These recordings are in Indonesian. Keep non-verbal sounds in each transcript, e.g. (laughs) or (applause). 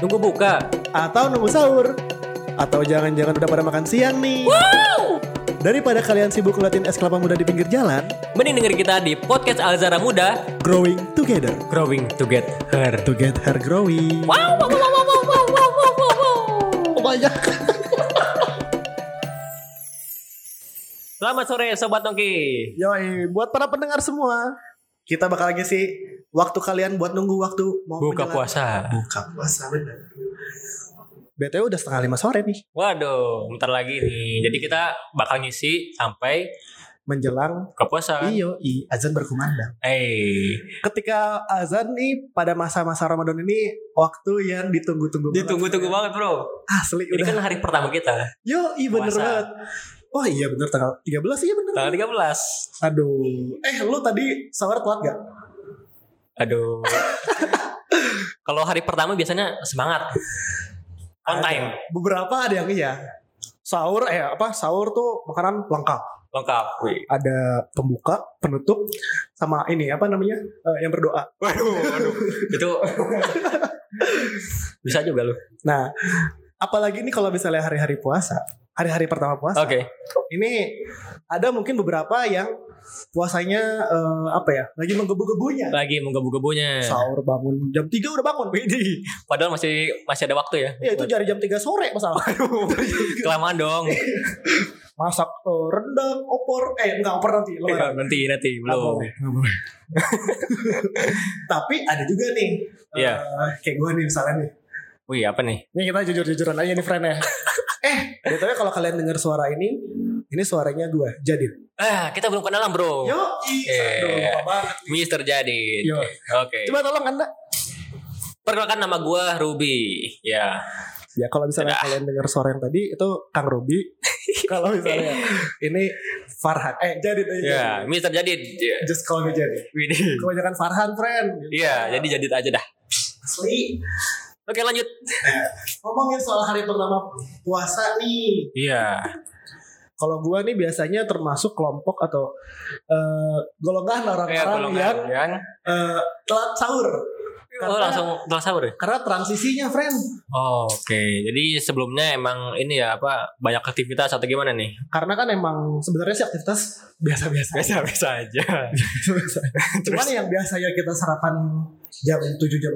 Nunggu buka. atau nunggu sahur atau jangan-jangan udah pada makan siang nih. Wow! Daripada kalian sibuk ngeliatin es kelapa muda di pinggir jalan, Mending denger kita di podcast Alzara Muda growing together Growing to get her. to get her growing. Wow, wow, wow, wow, wow, wow, wow, wow, wow. Oh, Banyak. Selamat sore Sobat Nongki. Yoi, buat para pendengar semua, kita bakal ngisi waktu kalian buat nunggu waktu mau Buka menjelang- puasa. Buka puasa bener. BTW udah setengah lima sore nih, Waduh, bentar lagi nih. Jadi kita bakal ngisi sampai menjelang buka puasa. kan? iyo i azan berkumandang. Eh, Ketika azan nih pada masa-masa Ramadan ini waktu yang ditunggu-tunggu. banget. ditunggu-tunggu banget bro. Asli Ini udah. kan hari pertama kita, Yo, i bener Puasa. banget. Wah iya bener tanggal 13 iya bener. tanggal 13. Aduh. Eh lu tadi sahur telat gak? (laughs) Aduh. Kalau hari pertama biasanya semangat. On time, Beberapa ada yang iya. Sahur eh apa? Sahur tuh makanan lengkap. lengkap. Ada pembuka, penutup sama ini apa namanya? Eh, yang berdoa. Waduh, waduh. (laughs) Itu bisa juga lu. Nah, apalagi ini kalau misalnya hari-hari puasa, hari-hari pertama puasa. Oke. Ini ada mungkin beberapa yang puasanya eh, apa ya? Lagi menggebu-gebunya. Lagi menggebu-gebunya. Sahur bangun jam 3 udah bangun. Widih, Padahal masih masih ada waktu ya. Ya itu Iya, dari jam 3 sore masalah. kelamaan dong. masak eh, rendang, opor, eh enggak opor nanti lebaran. Iya, nanti nanti Nggak belum. boleh, nggak boleh. (laughs) Tapi ada juga nih, eh, Iya. kayak gue nih misalnya nih. Wih, apa nih? Ini kita jujur-jujuran aja nih friend ya. (laughs) eh, btw kalau kalian dengar suara ini, ini suaranya gue, Jadid. Ah, kita belum kenalan, Bro. Yo, ih, aduh, Iya. lupa banget. Mister Jadid. Yo. Oke. Coba tolong anda. Perkenalkan nama gua Ruby. Ya. Ya kalau misalnya Dadah. kalian dengar suara yang tadi itu Kang (laughs) Robi. kalau misalnya ini Farhan, eh Jadid aja. Ya, Mister Jadid. Ya. Just call me Jadid. Widih. Kebanyakan Farhan friend. Iya, jadi Jadid aja dah. Asli. Oke, lanjut. Ngomongin soal hari pertama puasa nih. Iya. Kalau gua nih biasanya termasuk kelompok atau eh, golongan Kayak orang-orang golongan kan. yang eh, telat sahur. Oh, langsung telah sahur ya? Karena transisinya, friend. Oh, Oke, jadi sebelumnya emang ini ya apa banyak aktivitas atau gimana nih? Karena kan emang sebenarnya sih aktivitas (laughs) biasa-biasa. Biasa-biasa aja. Biasa-biasa. Cuman yang biasanya kita sarapan jam 7 jam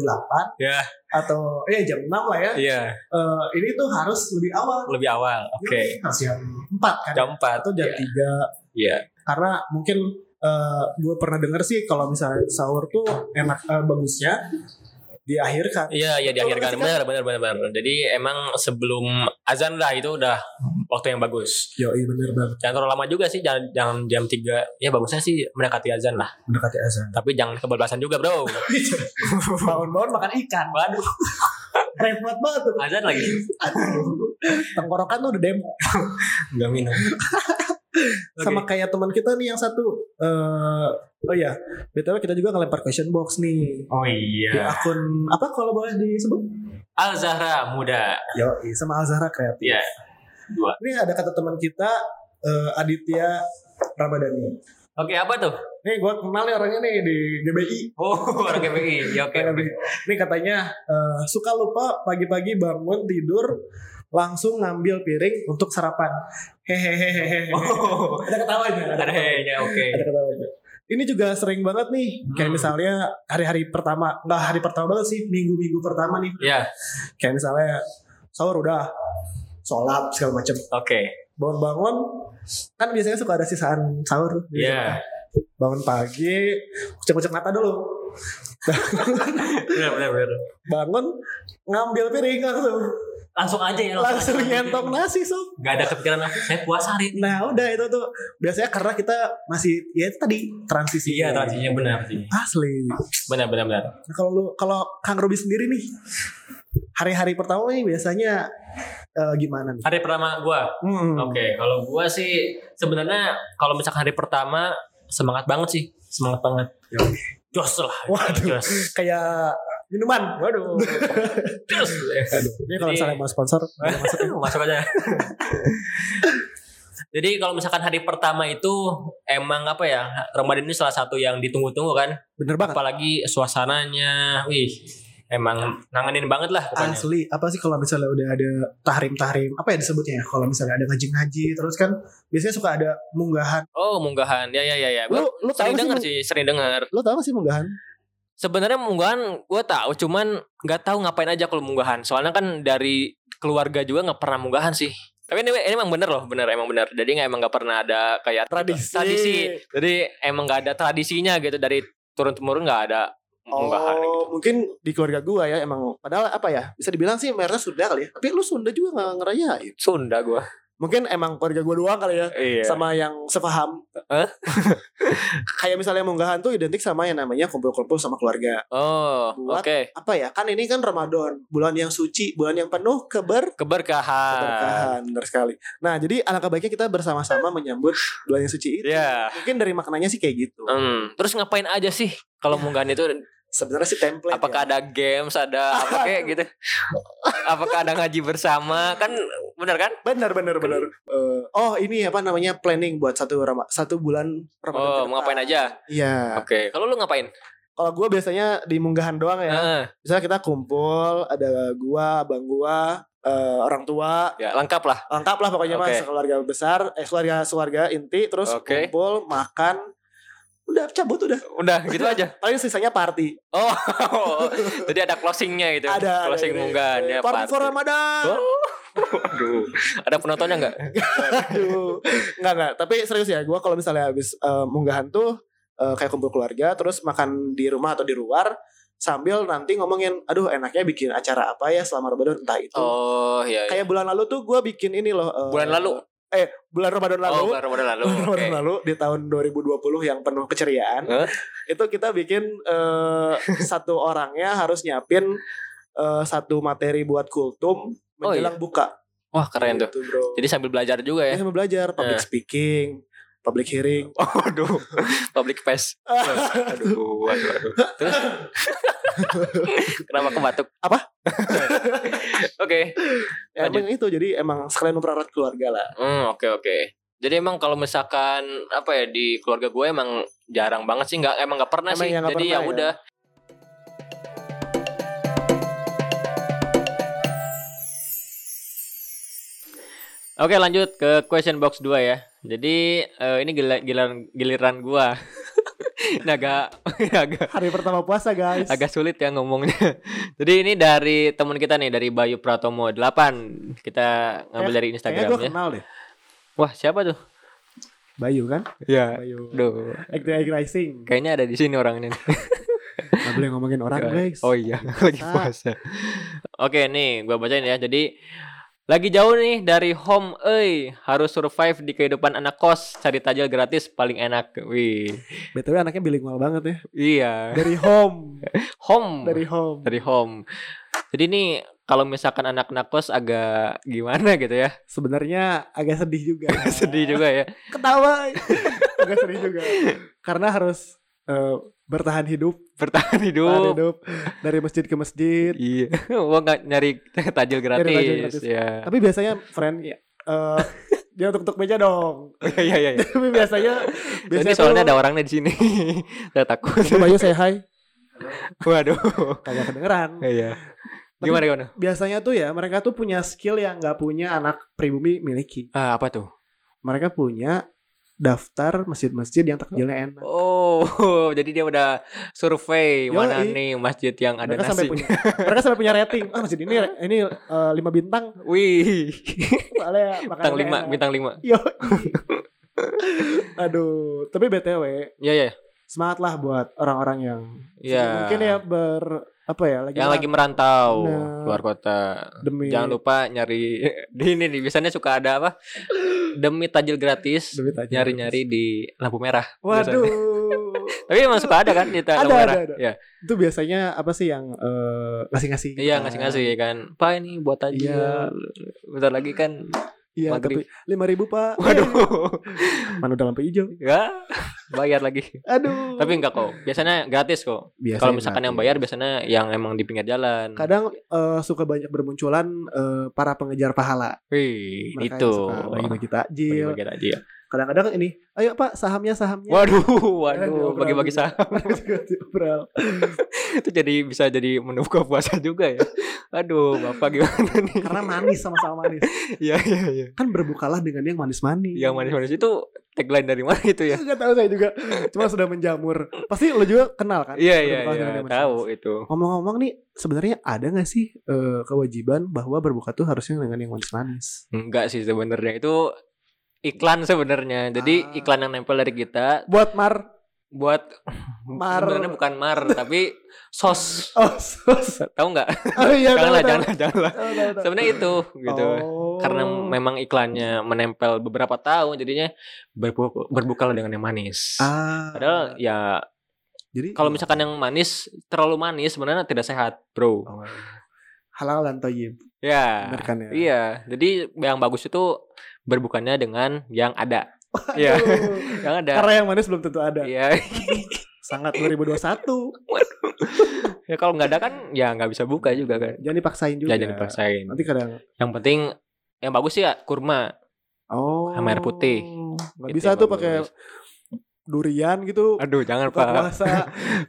8 ya, atau ya jam 6 lah ya. iya, Eh, ini tuh harus lebih awal. lebih awal. Oke. Harus jam 4 kan. Jam 4 atau jam Iya. 3 Iya. karena mungkin gue pernah denger sih kalau misalnya sahur tuh enak eh, bagusnya di akhir kan Iya, iya diakhirkan. Betul, Benar, benar, benar, benar. Jadi emang sebelum azan lah itu udah waktu yang bagus. yo iya bener banget Jangan terlalu lama juga sih, jangan, jangan jam 3. Ya bagusnya sih mendekati azan lah. mendekati azan Tapi jangan kebablasan juga, Bro. (laughs) bangun-bangun makan ikan Waduh, repot banget tuh azan lagi. Aduh. tenggorokan tuh udah demo Enggak (laughs) minum. sama kayak teman kita nih yang satu eh oh iya btw kita juga ngelempar question box nih Oh di iya. akun apa kalau boleh disebut Al Zahra muda. yo iya, sama Alzara kreatif Iya. Dua. ini ada kata teman kita eh, Aditya Ramadhani Oke, apa tuh? Nih gue kenal nih orangnya nih di GBI. Oh, (laughs) orang KPI. Ya oke. oke. Nih katanya eh, suka lupa pagi-pagi bangun tidur langsung ngambil piring untuk sarapan. Hehehehehe. Oh, Ada ketawanya. ada hehnya, oke. Ada ketawanya. Ini juga sering banget nih, kayak Hmm. misalnya hari-hari pertama, nggak hari pertama banget sih, minggu-minggu pertama nih. Ya, Kayak misalnya sahur udah, sholat segala macem. oke. Bangun-bangun, kan biasanya suka ada sisaan sahur. di Ya. bangun pagi kucek-kucek mata dulu Benar, benar, benar. bangun ngambil piring langsung Langsung aja ya. langsung nyentong nasi sob Gak ada kepikiran aku. Saya puasa hari ini. nah udah itu tuh biasanya karena kita masih ya itu tadi transisi Iya, transisinya benar sih. asli Benar, benar, benar. Nah, kalau lu kalau Kang Ruby sendiri nih hari-hari pertama nih biasanya eh, gimana nih Hari pertama gua. Hmm. Oke, kalau gua sih sebenarnya kalau misalkan hari pertama semangat banget sih, semangat banget. Yo. Jos lah. Waduh. Jos. kayak minuman Waduh. Jos. ini Jadi- kalau misalnya mau sponsor boleh masuk. Masuk (laughs) aja. Jadi kalau misalkan hari pertama itu emang apa ya Ramadan ini salah satu yang ditunggu-tunggu kan, bener banget apalagi suasananya, wih emang nanganin banget lah pokoknya. Asli, apa sih kalau misalnya udah ada tahrim-tahrim, apa ya disebutnya ya? Kalau misalnya ada ngaji-ngaji, terus kan biasanya suka ada munggahan. Oh, munggahan. Ya ya ya ya. Lu, Gua lu tahu sering nggak denger sih, sih, sering denger. lu tahu nggak sih munggahan? Sebenarnya munggahan gue tahu, cuman nggak tahu ngapain aja kalau munggahan. Soalnya kan dari keluarga juga nggak pernah munggahan sih. Tapi ini, ini emang bener loh, bener emang bener. Jadi nggak emang nggak pernah ada kayak Tradisi. tradisi. Jadi emang nggak ada tradisinya gitu dari turun temurun nggak ada munggahan. gitu. Oh, mungkin di keluarga gua ya emang. Padahal apa ya? Bisa dibilang sih mayoritas Sunda kali ya. Tapi lu Sunda juga nggak ngerayain. Sunda gue. Mungkin emang keluarga gua doang kali ya. Iya. Sama yang sepaham. Hah? (laughs) Kayak misalnya munggahan tuh identik sama yang namanya kumpul-kumpul sama keluarga. oh, Buat- oke. Apa ya? Kan ini kan Ramadan, bulan yang suci, bulan yang penuh keber Keberkahan. keberkahan benar sekali. Nah, jadi alangkah baiknya kita bersama-sama menyambut bulan yang suci itu. Ya. Mungkin dari maknanya sih kayak gitu. Hmm. Terus ngapain aja sih kalau munggahan itu Sebenarnya sih template. apakah ada ya. games ada apa kayak gitu apakah ada ngaji bersama kan benar kan Benar benar benar. Eh, oh, ini apa namanya planning buat satu Rama- satu bulan Ramadan. ke oh depan. mau ngapain aja Iya. oke kalau lu ngapain Kalau gue biasanya di munggahan doang ya. Heeh. Misalnya kita kumpul, ada gua, abang gua, eh, orang tua, ya lengkap lah lengkap lah pokoknya Oke. mas keluarga besar, eh keluarga keluarga inti, terus Oke. kumpul, makan, udah cabut udah. udah gitu (laughs) aja Paling sisanya party. oh jadi ada closingnya gitu ada closing ada, munggahan ada. ya party for party. Ramadan Oh. (laughs) Aduh. ada penontonnya nggak aduh nggak nggak tapi serius ya gue kalau misalnya habis eh, munggahan tuh eh, kayak kumpul keluarga terus makan di rumah atau di luar sambil nanti ngomongin aduh enaknya bikin acara apa ya selama Ramadan entah itu oh ya, ya. kayak bulan lalu tuh gue bikin ini loh eh, bulan lalu bulan Ramadan lalu oh bulan Ramadan lalu (laughs) bulan oke Ramadan lalu di tahun 2020 yang penuh keceriaan Hah? itu kita bikin eh, satu orangnya harus nyiapin eh, satu materi buat kultum Oh, iya. menjelang buka wah keren tuh Gitu, bro. jadi sambil belajar juga (laughs) Ya, ya sambil belajar public speaking, public hearing. Oh, Waduh, public (laughs) face. Aduh, aduh, aduh. Terus? Kenapa aku batuk? Apa? (laughs) Oke. Ya, Lanjut. emang itu jadi emang sekalian mempererat keluarga lah. Hmm, oke oke. Jadi emang kalau misalkan apa ya di keluarga gue emang jarang banget sih nggak emang nggak pernah Emang sih. ya nggak Jadi ya pernah ya. udah. Oke lanjut ke question box 2 ya. Jadi eh, ini gila- giliran giliran gua. (laughs) ini agak (laughs) ini agak Hari pertama puasa guys. Eh, agak sulit ya ngomongnya. (laughs) Jadi ini dari teman kita nih dari Bayu Pratomo 8. Kita ngambil dari ya. Eh, Kayaknya gue Instagramnya. kenal deh. Wah, siapa tuh? Bayu kan? Ya. Bayu. Duh, Acting Acting Rising. kayaknya ada di sini (laughs) orangnya nih. Gak boleh ngomongin orang guys. Oh iya, (laughs) lagi puasa. Oke, nih gua bacain ya. Jadi lagi jauh nih dari home euy, harus survive di kehidupan anak kos, cari tajil gratis paling enak. Wih. BTW anaknya bilingual banget ya. Iya. Dari home. Home. Dari home. dari home. Jadi nih kalau misalkan anak-anak kos agak gimana gitu (laughs) ya. Sebenarnya agak sedih juga. Sedih juga ya. Ketawa. agak sedih juga. Karena harus eh, bertahan hidup, bertahan bertahan hidup. hidup dari masjid ke masjid. Iya, (laughs) gua nggak nyari tajil gratis. tajil gratis. Ya, Tapi biasanya friend ya. eh, dia untuk meja dong. iya, iya. iya. Tapi biasanya Ini soalnya ada orangnya di sini. (laughs) Saya takut. Bayu saya hai. Waduh. Kagak (laughs) kedengeran. Iya. Gimana gimana? Biasanya tuh ya mereka tuh punya skill yang nggak punya anak pribumi miliki. Ah, apa tuh? Mereka punya daftar masjid-masjid yang takjilnya enak. Oh, (laughs) jadi dia udah survei Yoi. mana nih masjid yang ada mereka sampai nasi. punya mereka sampai punya rating. Ah masjid ini (laughs) ini 5 lima bintang Wih. soalnya (laughs) Bintang makanannya lima, enak. bintang lima. Yoi. Aduh, tapi BTW Iya, iya. semangatlah buat orang-orang yang Iya. mungkin ya ber apa ya lagi Yang lagi merantau Nah. keluar kota. demi Jangan lupa nyari (laughs) di ini nih biasanya suka ada apa? Demi tajil gratis demi tajam. nyari-nyari di lampu merah. Waduh. Tapi emang suka ada kan di ta- Ada, lampu ada, merah? ada. Ya. itu biasanya apa sih yang eh, ngasih-ngasih? Iya ngasih-ngasih ya kan. Pak ini buat tajil. Iya. Bentar lagi kan. Iya, Maghrib. tapi lima ribu pak. (laughs) Waduh. Eh, Mana udah lampu hijau? ya. Bayar lagi. Aduh. Tapi enggak kok. Biasanya gratis kok. Biasanya Kalau misalkan gratis. yang bayar biasanya yang emang di pinggir jalan. kadang eh, suka banyak bermunculan eh, para pengejar pahala. Wih, Mereka yang itu. suka bagi-bagi takjil. Bagi-bagi aja ya. kadang-kadang ini ayo pak sahamnya sahamnya Waduh, waduh, diobrolin. bagi-bagi (laughs) saham Diobrol. (laughs) itu jadi bisa jadi menu buka puasa juga ya. Aduh, Bapak gimana (laughs) nih? karena manis sama-sama manis Iya, iya, iya. kan berbukalah dengan yang manis-manis Yang (laughs) manis-manis itu tagline dari mana itu ya? Gak tahu saya juga cuma sudah menjamur pasti lo juga kenal kan Iya, iya, iya, Berbukalah dengan yang manis-manis. tahu itu. ngomong-ngomong nih sebenarnya ada nggak sih eh, kewajiban bahwa berbuka tuh harusnya dengan yang manis-manis Enggak sih sebenarnya itu iklan sebenarnya. Jadi Ah. iklan yang nempel dari kita buat mar buat (laughs) Mar. sebenarnya bukan mar (laughs) tapi sos. oh, sos. (laughs) Tahu nggak? oh iya tahu, janganlah, tahu. janganlah, (laughs) janganlah. Tahu, tahu, tahu. Sebenarnya itu gitu. Oh. Karena memang iklannya menempel beberapa tahun jadinya berbu berbukalah dengan yang manis. ah, Padahal ya jadi kalau misalkan yang manis terlalu manis sebenarnya tidak sehat, Bro. Oh. halal dan toyib Ya. bener kan ya Iya, jadi yang bagus itu berbukannya dengan yang ada. Iya. (laughs) Aduh. Yang ada. (laughs) karena yang manis belum tentu ada Iya. sangat 2021 Ya kalau nggak ada kan ya nggak bisa buka juga kan. jangan dipaksain juga Ya jangan dipaksain. nanti kadang Yang penting yang bagus sih ya kurma. oh Sama air putih. nggak Itu bisa yang tuh bagus. pakai durian gitu Aduh jangan buka pak. puasa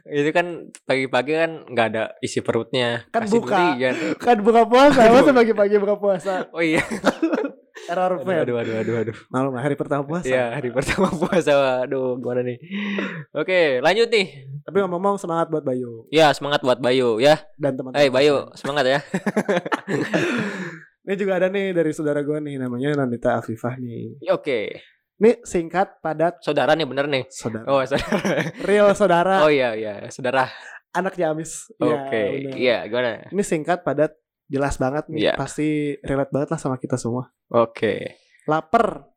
Itu kan pagi-pagi kan nggak ada isi perutnya. Kan Kasih buka. durian. kan buka puasa Aduh. masa pagi-pagi buka puasa Oh iya. error Aduh fail aduh aduh aduh. aduh. malam hari pertama puasa Ya hari pertama puasa. Aduh gimana nih. Oke lanjut nih. tapi ngomong-ngomong semangat buat Bayu Ya semangat buat Bayu ya. dan teman-teman Eh Bayu semangat ya. ini juga ada nih dari saudara gue nih namanya Nandita Afifah nih Ya, Oke. ini singkat padat Saudara nih bener nih. saudara Oh saudara. real saudara (laughs) Oh iya iya saudara. anaknya Amis Iya, Oke. bener. Iya gimana? ini singkat padat jelas banget nih Iya. pasti relate banget lah sama kita semua Oke. lapar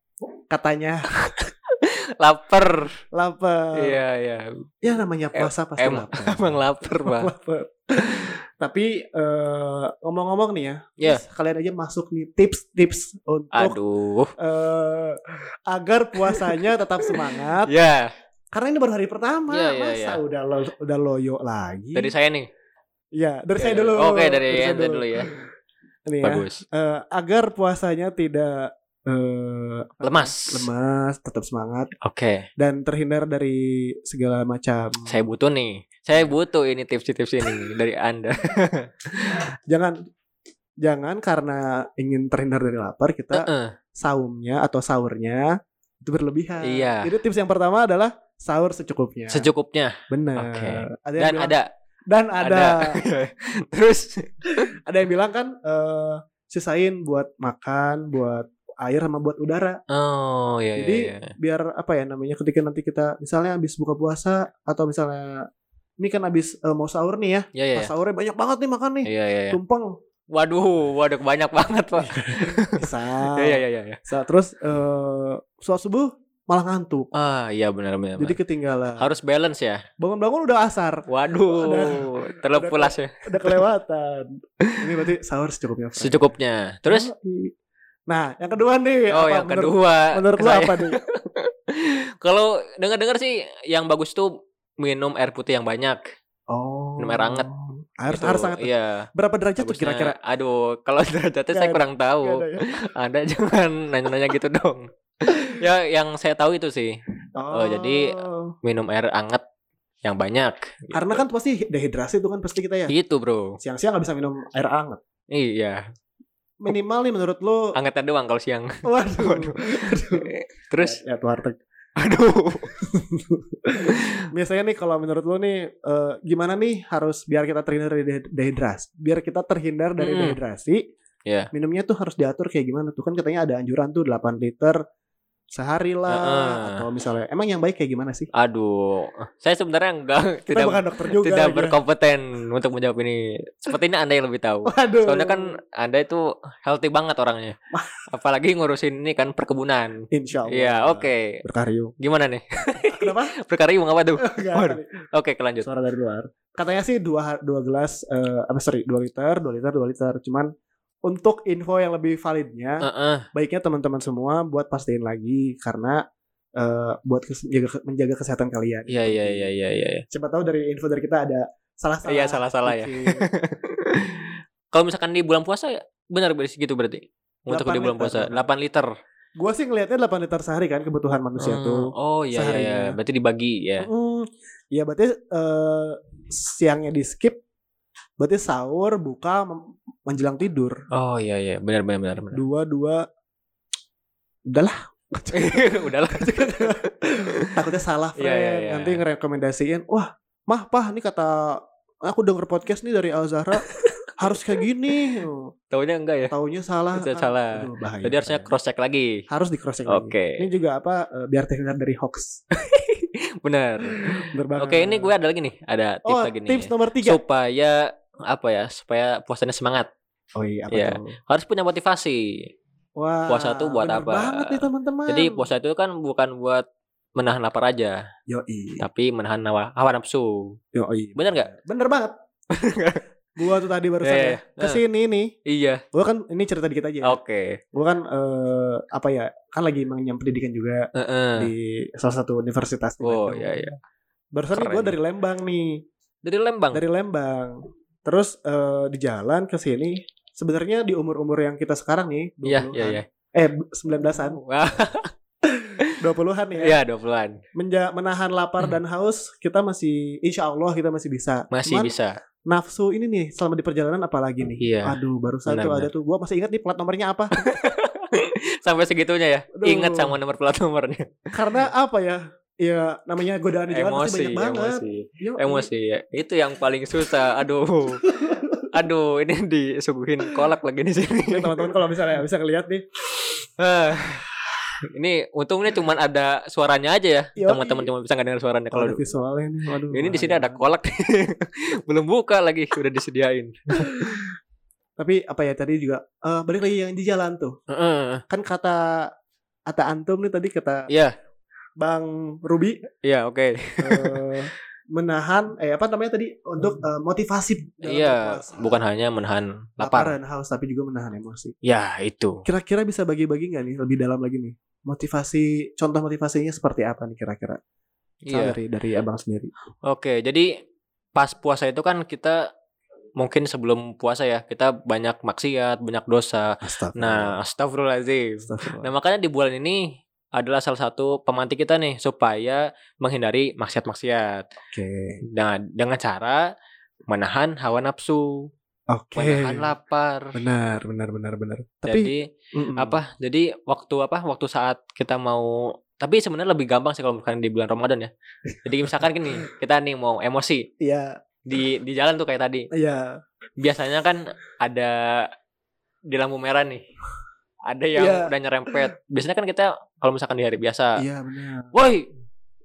katanya Lapar. lapar Iya iya. ya namanya puasa pasti em- (laughs) lapar (laughs) Emang lapar pak. lapar tapi eh, ngomong-ngomong nih ya Iya. please kalian aja masuk nih tips-tips untuk Aduh. eh, agar puasanya tetap (laughs) semangat Ya, karena ini baru hari pertama Iya, iya, masa iya. udah lo- udah loyo lagi dari saya nih. ya dari Ya, saya dari- dulu Oke, dari saya Enza dulu ya. Nih ya, Bagus. eh, agar puasanya tidak eh, Lemas. lemas tetap semangat Oke, dan terhindar dari segala macam saya butuh nih. Saya butuh ini tips-tips ini dari Anda. jangan jangan karena ingin terhindar dari lapar kita Heeh. saumnya atau sahurnya itu berlebihan. Iya. Jadi tips yang pertama adalah sahur secukupnya. Secukupnya Benar. Oke. Ada dan yang ya. bilang- ada dan ada terus (laughs) ada yang bilang kan eh sisain buat makan, buat air sama buat udara. oh iya Jadi, iya, iya. Biar apa ya namanya ketika nanti kita misalnya habis buka puasa atau misalnya ini kan habis eh, mau sahur nih ya. Iya iya. Pas sahurnya banyak banget nih makan nih. Iya iya. iya. Tumpeng. Waduh, waduh banyak banget, Pak. Bisa. (laughs) Iya iya iya iya. Sa- Terus eh suatu subuh malah ngantuk. Ah, iya benar benar. Jadi benar. ketinggalan. harus balance ya. Bangun-bangun udah asar. Waduh, terlalu udah- pulas ya. udah kelewatan. (laughs) Ini berarti sahur secukupnya. Frank. Secukupnya. Terus Nah, yang kedua nih. oh apa yang menurut- kedua Menurut lu saya- apa nih? Kalau dengar-dengar sih yang bagus tuh minum air putih yang banyak. Oh. Minum air hangat. Harus, Gitu. harus hangat. Iya. Berapa derajat tuh bagusnya. kira-kira? Aduh, kalau (laughs) derajatnya Nggak saya ada. kurang Nggak tahu. ada ya? Anda (laughs) jangan nanya-nanya gitu (laughs) dong. ya, yang saya tahu itu sih Oh, jadi- minum air anget yang banyak. karena kan pasti dehidrasi itu kan pasti kita ya. Gitu, Bro. Siang-siang nggak bisa minum air hangat. Iya, Minimal nih menurut lu angetnya doang kalau (laughs) siang. waduh. (laughs) Waduh. Aduh. Terus ya, ya tuh Artek. aduh. Biasanya nih kalau menurut lu nih eh, gimana nih harus biar kita terhindar dari de- dehidrasi? Biar kita terhindar dari Hmm. dehidrasi. Iya. Minumnya tuh harus diatur kayak gimana tuh kan katanya ada anjuran tuh 8 liter sehari lah Heeh. atau misalnya emang yang baik kayak gimana sih? Aduh. Saya sebenarnya enggak Kita tidak bukan dokter juga. tidak lagi ya. berkompeten untuk menjawab ini. Sepertinya Anda yang lebih tahu. Waduh. Soalnya kan Anda itu healthy banget orangnya. (laughs) Apalagi ngurusin ini kan perkebunan. Insya Allah. Iya, oke. Berkaryo. Gimana nih? (laughs) Kenapa? Perkara ibu apa tuh? (laughs) Enggak, Waduh. Oke, tadi. kelanjut. Suara dari luar. Katanya sih dua dua gelas eh apa sorry dua liter dua liter dua liter cuman untuk info yang lebih validnya Heeh. baiknya teman-teman semua buat pastiin lagi karena eh, buat kes- jaga- menjaga kesehatan kalian. Iya, iya, iya, iya, iya. iya. Siapa tahu dari info dari kita ada salah-salah. Iya, salah-salah ya. dikit. Kalau misalkan di bulan puasa benar benar segitu berarti. Untuk 8 di bulan liter. puasa 8 liter. Gua sih ngelihatnya 8 liter sehari kan kebutuhan manusia Hmm, tuh. Oh iya, iya, iya. seharinya. Berarti dibagi ya. Mm, ya berarti eh, siangnya di skip berarti sahur, buka mem- menjelang tidur. Oh iya iya, benar benar benar. (laughs) benar. (laughs) Dua dua udahlah Udahlah. takutnya salah Iya, Fred. iya, iya. nanti ngerekomendasiin wah mah pah nih kata aku denger podcast nih dari Al (laughs) Zahra harus kayak gini Oh, Taunya enggak ya. taunya salah Itu Ah, salah. aduh, bahaya, Jadi harusnya Fred. cross check lagi. harus di crossing ini Oke. juga apa eh, biar terhindar dari hoax Benar. Bener banget. Oke, ini gue ada lagi nih. Ada tips oh, lagi nih. tips nomor tiga Supaya apa ya? Supaya puasanya semangat. oh iya apa Iya. tuh Harus punya motivasi. Wah, Puasa tuh buat bener apa? banget nih teman-teman. Jadi puasa itu kan bukan buat menahan lapar aja, Yoi, tapi menahan hawa, hawa nafsu. yoi. Bener nggak? Bener banget. gua tuh tadi barusan Iya, Oh. ya. Kesini nih, Iya. gua kan ini cerita dikit aja. ya. Oke. Gua kan eh, apa ya? Kan lagi mengenyam pendidikan juga Heeh. di salah satu universitas. di Oh Bandung. iya iya. Barusan nih Keren. gua dari Lembang nih, Dari Lembang. dari Lembang. Terus eh, di jalan ke sini, sebenarnya di umur-umur yang kita sekarang nih, Iya 20-an. iya iya. Eh, 19-an, Wah, 20-an ya. iya 20-an. Menja- menahan lapar dan haus kita masih insya Allah kita masih bisa Masih Cuman, bisa. nafsu ini nih selama di perjalanan apalagi nih Iya. aduh baru satu Benar, ada tuh gua masih ingat nih plat nomornya apa Sampai segitunya ya. Aduh. Ingat sama nomor plat nomornya. karena apa ya ya namanya godaan di jalan pasti Emosi, banyak banget emosi. Yo, Emosi ya. Itu yang paling susah. (laughs) Aduh. Aduh, ini disuguhin kolak lagi di sini. ini iya. teman-teman kalau misalnya bisa ngeliat nih Ah, ini untungnya cuman ada suaranya aja ya. Yoi. Teman-teman cuma bisa nggak dengar suaranya (laughs) kalau kalau ada visualnya nih aduh ini di sini ada bahaya. kolak. (laughs) Belum buka lagi udah disediain. tapi apa ya tadi juga eh, balik lagi yang di jalan tuh Heeh. kan kata kata antum nih tadi kata Iya, bang Ruby iya oke. eh, menahan eh apa namanya tadi untuk eh, motivasi dalam Hmm. Iya, berpuasa. bukan hanya menahan lapar. lapar dan haus tapi juga menahan emosi Ya, itu. kira-kira bisa bagi-bagi nggak nih lebih dalam lagi nih motivasi contoh motivasinya seperti apa nih kira-kira Iya. Misal dari dari abang sendiri Oke, jadi pas puasa itu kan kita mungkin sebelum puasa ya, kita banyak maksiat, banyak dosa. Astagfirullah. Nah, astagfirullahaladzim. Nah, Astagfirullah. makanya di bulan ini adalah salah satu pemantik kita nih supaya menghindari maksiat-maksiat. oke Nah, dengan cara menahan hawa nafsu, oke menahan lapar. benar benar benar benar tapi hmm. jadi mm-mm. apa? Jadi waktu apa? Waktu saat kita mau tapi sebenarnya lebih gampang sih kalau misalkan di bulan Ramadan ya. Jadi misalkan gini, kita nih mau emosi ya di di jalan tuh kayak tadi. ya Biasanya kan ada di lampu merah nih. Ada yang Iya. udah nyerempet. Biasanya kan kita kalau misalkan di hari biasa, iya benar woi,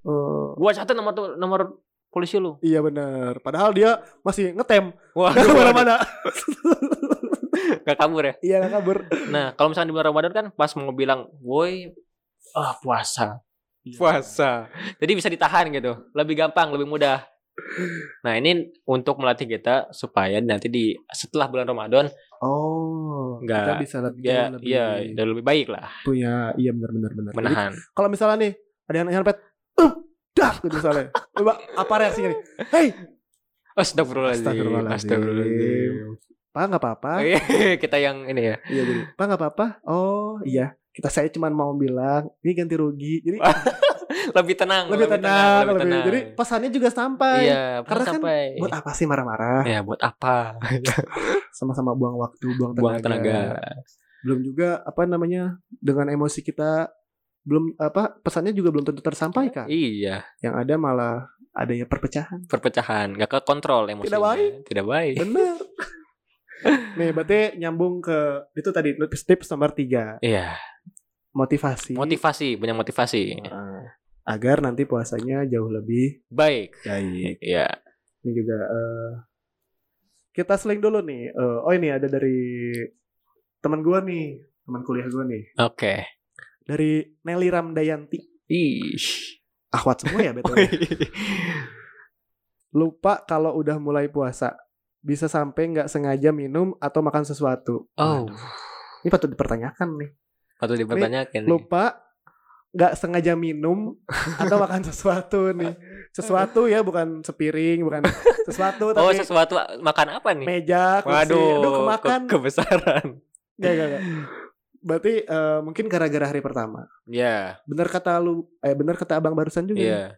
oh gua catat nomor tu- nomor polisi lu iya benar padahal dia masih (laughs) ngetem wah kemana-mana gak kabur ya iya nggak kabur nah kalau misalnya di bulan ramadan kan pas mau bilang woi ah puasa puasa jadi bisa ditahan gitu lebih gampang lebih mudah nah ini untuk melatih kita supaya nanti di setelah bulan ramadan oh Nggak. kita bisa lebih ya lebih ya udah lebih baik lah punya iya benar benar benar Jadi menahan kalau misalnya nih ada yang nyerempet uh, dah gitu misalnya coba apa reaksinya nih hei astagfirullahaladzim Astagfirullahaladzim. pak nggak apa-apa Oh, Astagfirullahaladzim. (laughs) kita yang ini ya Iya jadi Pak nggak apa-apa Oh iya Kita saya cuma mau bilang Ini ganti rugi Jadi Wah, lebih tenang lebih, tenang, lebih lebih- tenang. Jadi pesannya juga sampai iya Karena karena kan sampai Buat apa sih marah-marah ya buat (laughs) apa Sama-sama buang waktu Buang tenaga, buang tenaga Belum juga Apa namanya Dengan emosi kita Belum apa Pesannya juga belum tentu tersampaikan Iya, Yang ada malah Adanya perpecahan perpecahan, gak ke kontrol emosinya. baik. Tidak baik. (laughs) Bener Nih berarti nyambung ke Itu tadi tips tips nomor tiga Iya, Motivasi motivasi, punya motivasi. Nah, Agar nanti puasanya jauh lebih Baik. Baik Iya. ini juga eh, kita seling dulu nih Eh, oh ini ada dari teman gua nih teman kuliah gua nih Oke. dari Nelly Ramdayanti Ih. akhwat semua (laughs) ya betul lupa kalau udah mulai puasa bisa sampai nggak sengaja minum atau makan sesuatu (laughs) Oh, Waduh, ini patut dipertanyakan nih patut dipertanyakan. Iya nih. lupa nggak sengaja minum (laughs) atau makan sesuatu nih sesuatu ya bukan sepiring (laughs) bukan sesuatu Oh, tapi sesuatu makan apa nih? meja kursi Waduh, Aduh, kemakan ke- kebesaran. Gak, gak, gak. Berarti eh, mungkin gara-gara hari pertama. Iya, Bener kata lu, eh bener kata abang barusan juga. nih. iya.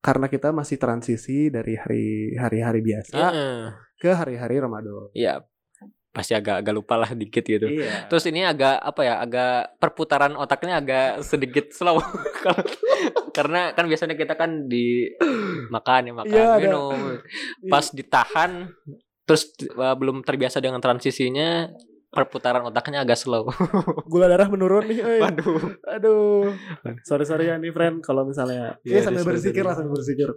Karena kita masih transisi dari hari hari-hari biasa Heeh. ke hari-hari Ramadan. Iya. Pasti agak agak lupa lah dikit gitu. Iya. Terus ini agak apa ya? Agak perputaran otaknya agak sedikit slow (laughs) Kalau- karena kan biasanya kita kan di makan ya makan Iya, ada. Iya. minum. Pas ditahan terus uh, belum terbiasa dengan transisinya perputaran otaknya agak (laughs) slow. gula darah menurun nih. euy. Waduh. Aduh. Sorry sorry ya nih friend kalau misalnya. Iya, Iya sambil sorry, berzikir sorry. lah sambil berzikir.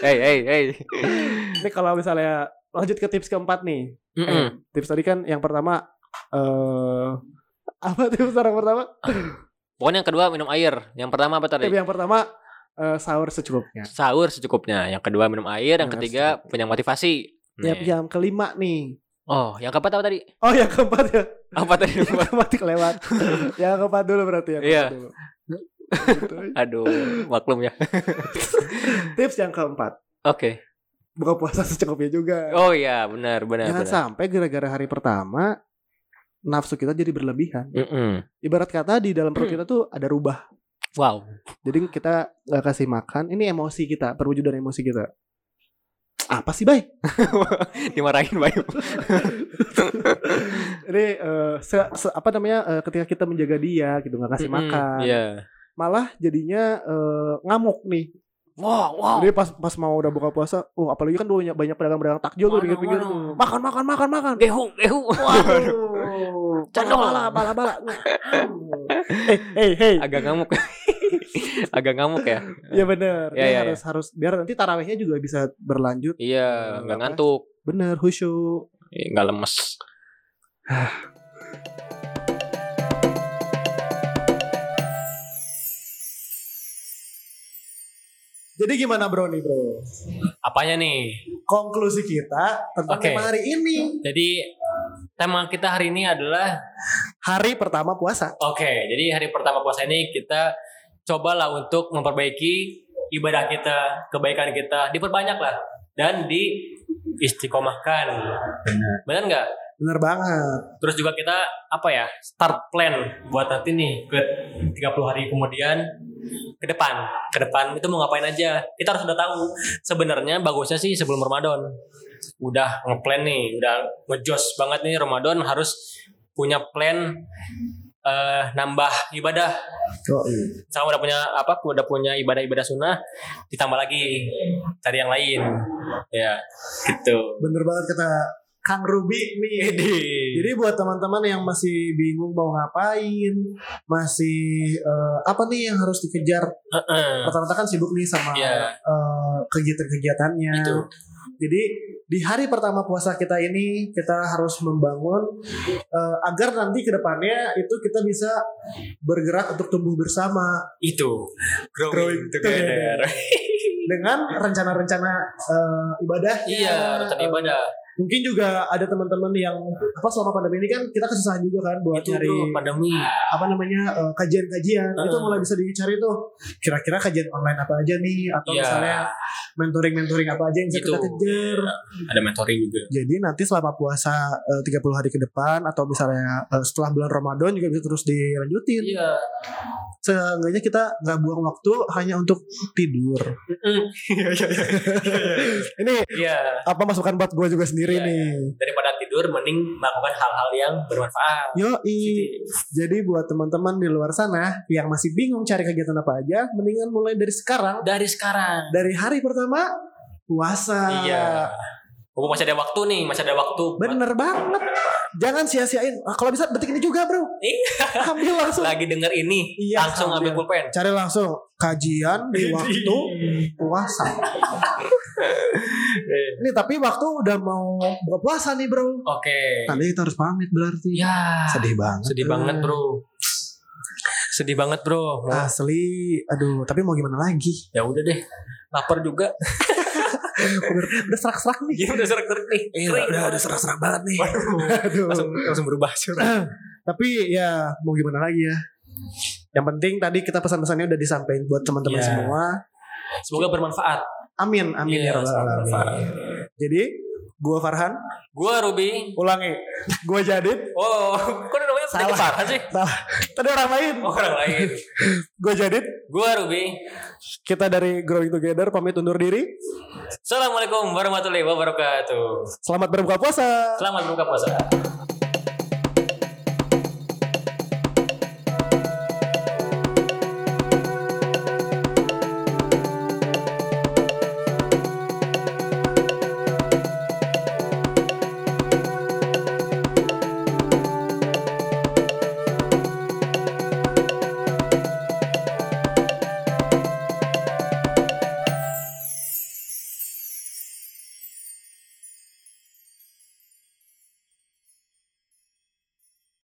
Hey hey hey. Ini kalau misalnya lanjut ke tips keempat nih. Eh, Mm-mm. tips tadi kan yang pertama eh (laughs) apa tips orang pertama? Pokoknya yang kedua minum air. Yang pertama apa tadi? Tips yang pertama eh, sahur secukupnya. Sahur secukupnya. Yang kedua minum air. Yang Nah, ketiga punya motivasi. Yang, Nih. yang kelima nih. Oh, yang keempat apa tadi? Oh yang keempat ya. Apa tadi? (laughs) Yang keempat kelewat. yang keempat dulu berarti yang Iya. keempat dulu. Gitu. Aduh, maklum ya. Tips yang keempat. Oke. Buka puasa secukupnya juga. Oh iya, benar, benar, Jangan benar. sampai gara-gara hari pertama nafsu kita jadi berlebihan. Mm-mm. Ibarat kata di dalam Mm. perut kita tuh ada rubah. Wow. Jadi kita nggak kasih makan. Ini emosi kita, perwujudan emosi kita. Apa sih bay? Dimarahin Bayu. Ini eh, se- se- apa namanya? eh, ketika kita menjaga dia gitu nggak kasih Mm-mm, makan, Iya. malah jadinya eh, ngamuk nih. Wow, wow. Jadi pas pas mau udah buka puasa, oh apalagi kan dulunya banyak pedagang-pedagang takjil tuh Mana, pinggir-pinggir mana? tuh. Makan makan makan makan. Gehu, gehu. Waduh. Cendol. Bala bala (laughs) bala. hey hey hey. Agak ngamuk. (laughs) Agak ngamuk ya. Iya bener. Iya, Dia iya, harus harus biar nanti tarawehnya juga bisa berlanjut. Iya, Hmm, nggak apa? ngantuk, Bener khusyuk. Ih, nggak lemes. Jadi gimana bro nih bro? Apanya nih? Konklusi kita tentang Oke. tema hari ini. Jadi tema kita hari ini adalah Hari pertama puasa. Oke, jadi hari pertama puasa ini kita cobalah untuk memperbaiki ibadah kita, kebaikan kita, diperbanyaklah dan di istiqomahkan. Benar nggak? Bener banget. Terus juga kita apa ya? Start plan buat nanti nih ke 30 hari kemudian ke depan. Ke depan itu mau ngapain aja? Kita harus udah tahu. Sebenarnya bagusnya sih sebelum Ramadan. Udah ngeplan nih, udah ngejos banget nih Ramadan harus punya plan eh, nambah ibadah Oh, sama udah punya apa udah punya ibadah-ibadah sunnah ditambah lagi cari yang lain ya gitu Bener banget kata Kang Ruby nih. jadi Jadi buat teman-teman yang masih bingung mau ngapain, masih eh, apa nih yang harus dikejar? Rata-rata kan sibuk nih sama Iya. eh, kegiatan-kegiatannya. Itu. Jadi di hari pertama puasa kita ini kita harus membangun eh, agar nanti kedepannya itu kita bisa bergerak untuk tumbuh bersama itu Growing together. (laughs) dengan rencana-rencana eh, ibadahnya. iya Eh, rencana ibadah Mungkin juga ada teman-teman yang apa selama pandemi ini kan kita kesusahan juga kan buat itu bro cari Nah. pandemi apa namanya eh, kajian-kajian Heeh. itu mulai bisa dicari tuh kira-kira kajian online apa aja nih atau Iya. misalnya mentoring-mentoring apa aja yang bisa Gitu. kita kejar. ada mentoring juga Jadi nanti selama puasa eh, 30 hari ke depan atau misalnya eh, setelah bulan Ramadan juga bisa terus dilanjutin. iya Seenggaknya kita nggak buang waktu hanya untuk tidur. (laughs) Ini iya apa masukan buat gue juga sendiri Iya, nih. daripada tidur mending melakukan hal-hal yang bermanfaat Yoi. Jadi buat teman-teman di luar sana yang masih bingung cari kegiatan apa aja, mendingan mulai dari sekarang, dari sekarang dari hari pertama puasa. iya Mumpung masih ada waktu nih masih ada waktu buat- Bener banget. Jangan sia-siain. Ah, kalau bisa detik ini juga, Bro. Iya. Ambil langsung. lagi denger ini Iya, langsung sambil. ambil pulpen Cari langsung Iya. kajian di waktu puasa. Eh, Ini tapi waktu udah mau buka puasa nih, Bro. (laughs) Oke. Tadi kita harus pamit berarti. Ya. Sedih banget. Iya. Sedih banget bro. Sedih banget bro. Mau- Ah. Asli, aduh, tapi mau gimana lagi? Ya udah deh. Lapar juga. (laughs) Bener, udah serak-serak nih. Gini udah serak-serak nih. Iya, Kering. udah, udah serak-serak banget nih. Waduh. Aduh. Langsung langsung berubah. Tapi ya mau gimana lagi ya. Yang penting tadi kita pesan-pesannya udah disampaikan buat teman-teman Iya. semua. Semoga bermanfaat. Amin, amin Iya, ya rabbal semoga alamin. bermanfaat. Jadi Gua Farhan, Gua Ruby. ulangi. Gua Jadid, Oh, (laughs) kok namanya tadi Salah. Farhan sih? tadi orang lain. Oh, orang lain. Gua Jadid, Gua Ruby. kita dari Growing Together pamit undur diri. Assalamualaikum warahmatullahi wabarakatuh. Selamat berbuka puasa. Selamat berbuka puasa.